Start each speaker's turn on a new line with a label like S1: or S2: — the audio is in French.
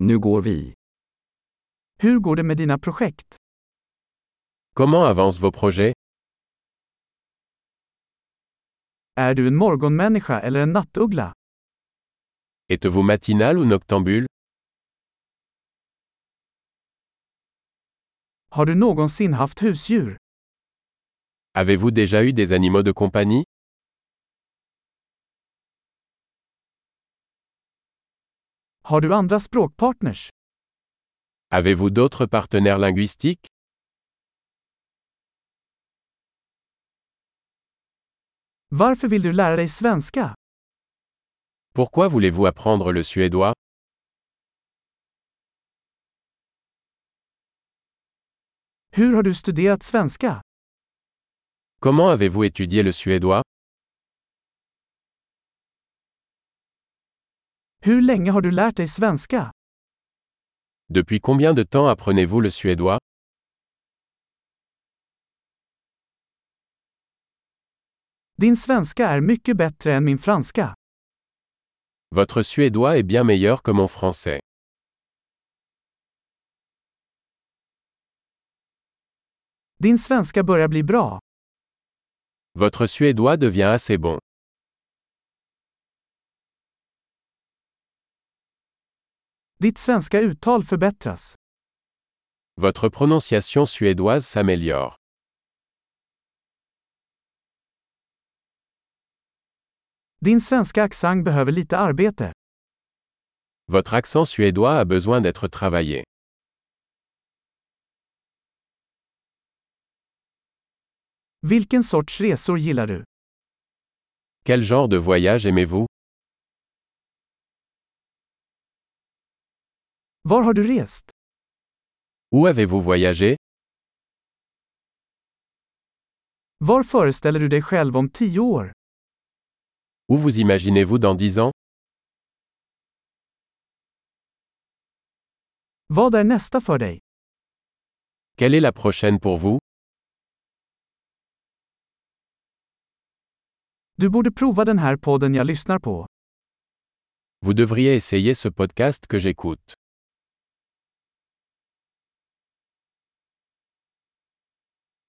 S1: Nu går vi.
S2: Hur går det med dina projekt?
S3: Comment avancent vos projets
S2: Är du en morgonmänniska eller en nattuggla?
S3: Êtes-vous matinal ou noctambule
S2: Har du någonsin haft husdjur?
S3: Avez-vous déjà eu des animaux de compagnie
S2: Har du andra språkpartners?
S3: Avez-vous d'autres partenaires linguistiques
S2: Varför vill du lära dig svenska?
S3: Pourquoi voulez-vous apprendre le suédois
S2: Hur har du studerat svenska?
S3: Comment avez-vous étudié le suédois
S2: Hur länge har du lärt dig svenska?
S3: Depuis combien de temps apprenez-vous le suédois
S2: Din svenska är mycket bättre än min franska.
S3: Votre suédois est bien meilleur que mon français.
S2: Din svenska börjar bli bra.
S3: Votre suédois devient assez bon.
S2: Ditt svenska uttal förbättras.
S3: Votre prononciation suédoise s'améliore.
S2: Din svenska accent behöver lite arbete.
S3: Votre accent suédois a besoin d'être travaillé.
S2: Vilken sorts resor gillar du?
S3: Quel genre de voyage aimez-vous
S2: Var har du rest?
S3: Où avez-vous voyagé
S2: Var föreställer du dig själv om tio år?
S3: Où vous imaginez-vous dans 10 ans
S2: Vad är nästa för dig?
S3: Quelle est la prochaine pour vous
S2: Du borde prova den här podden jag lyssnar på.
S3: Vous devriez essayer ce podcast que j'écoute.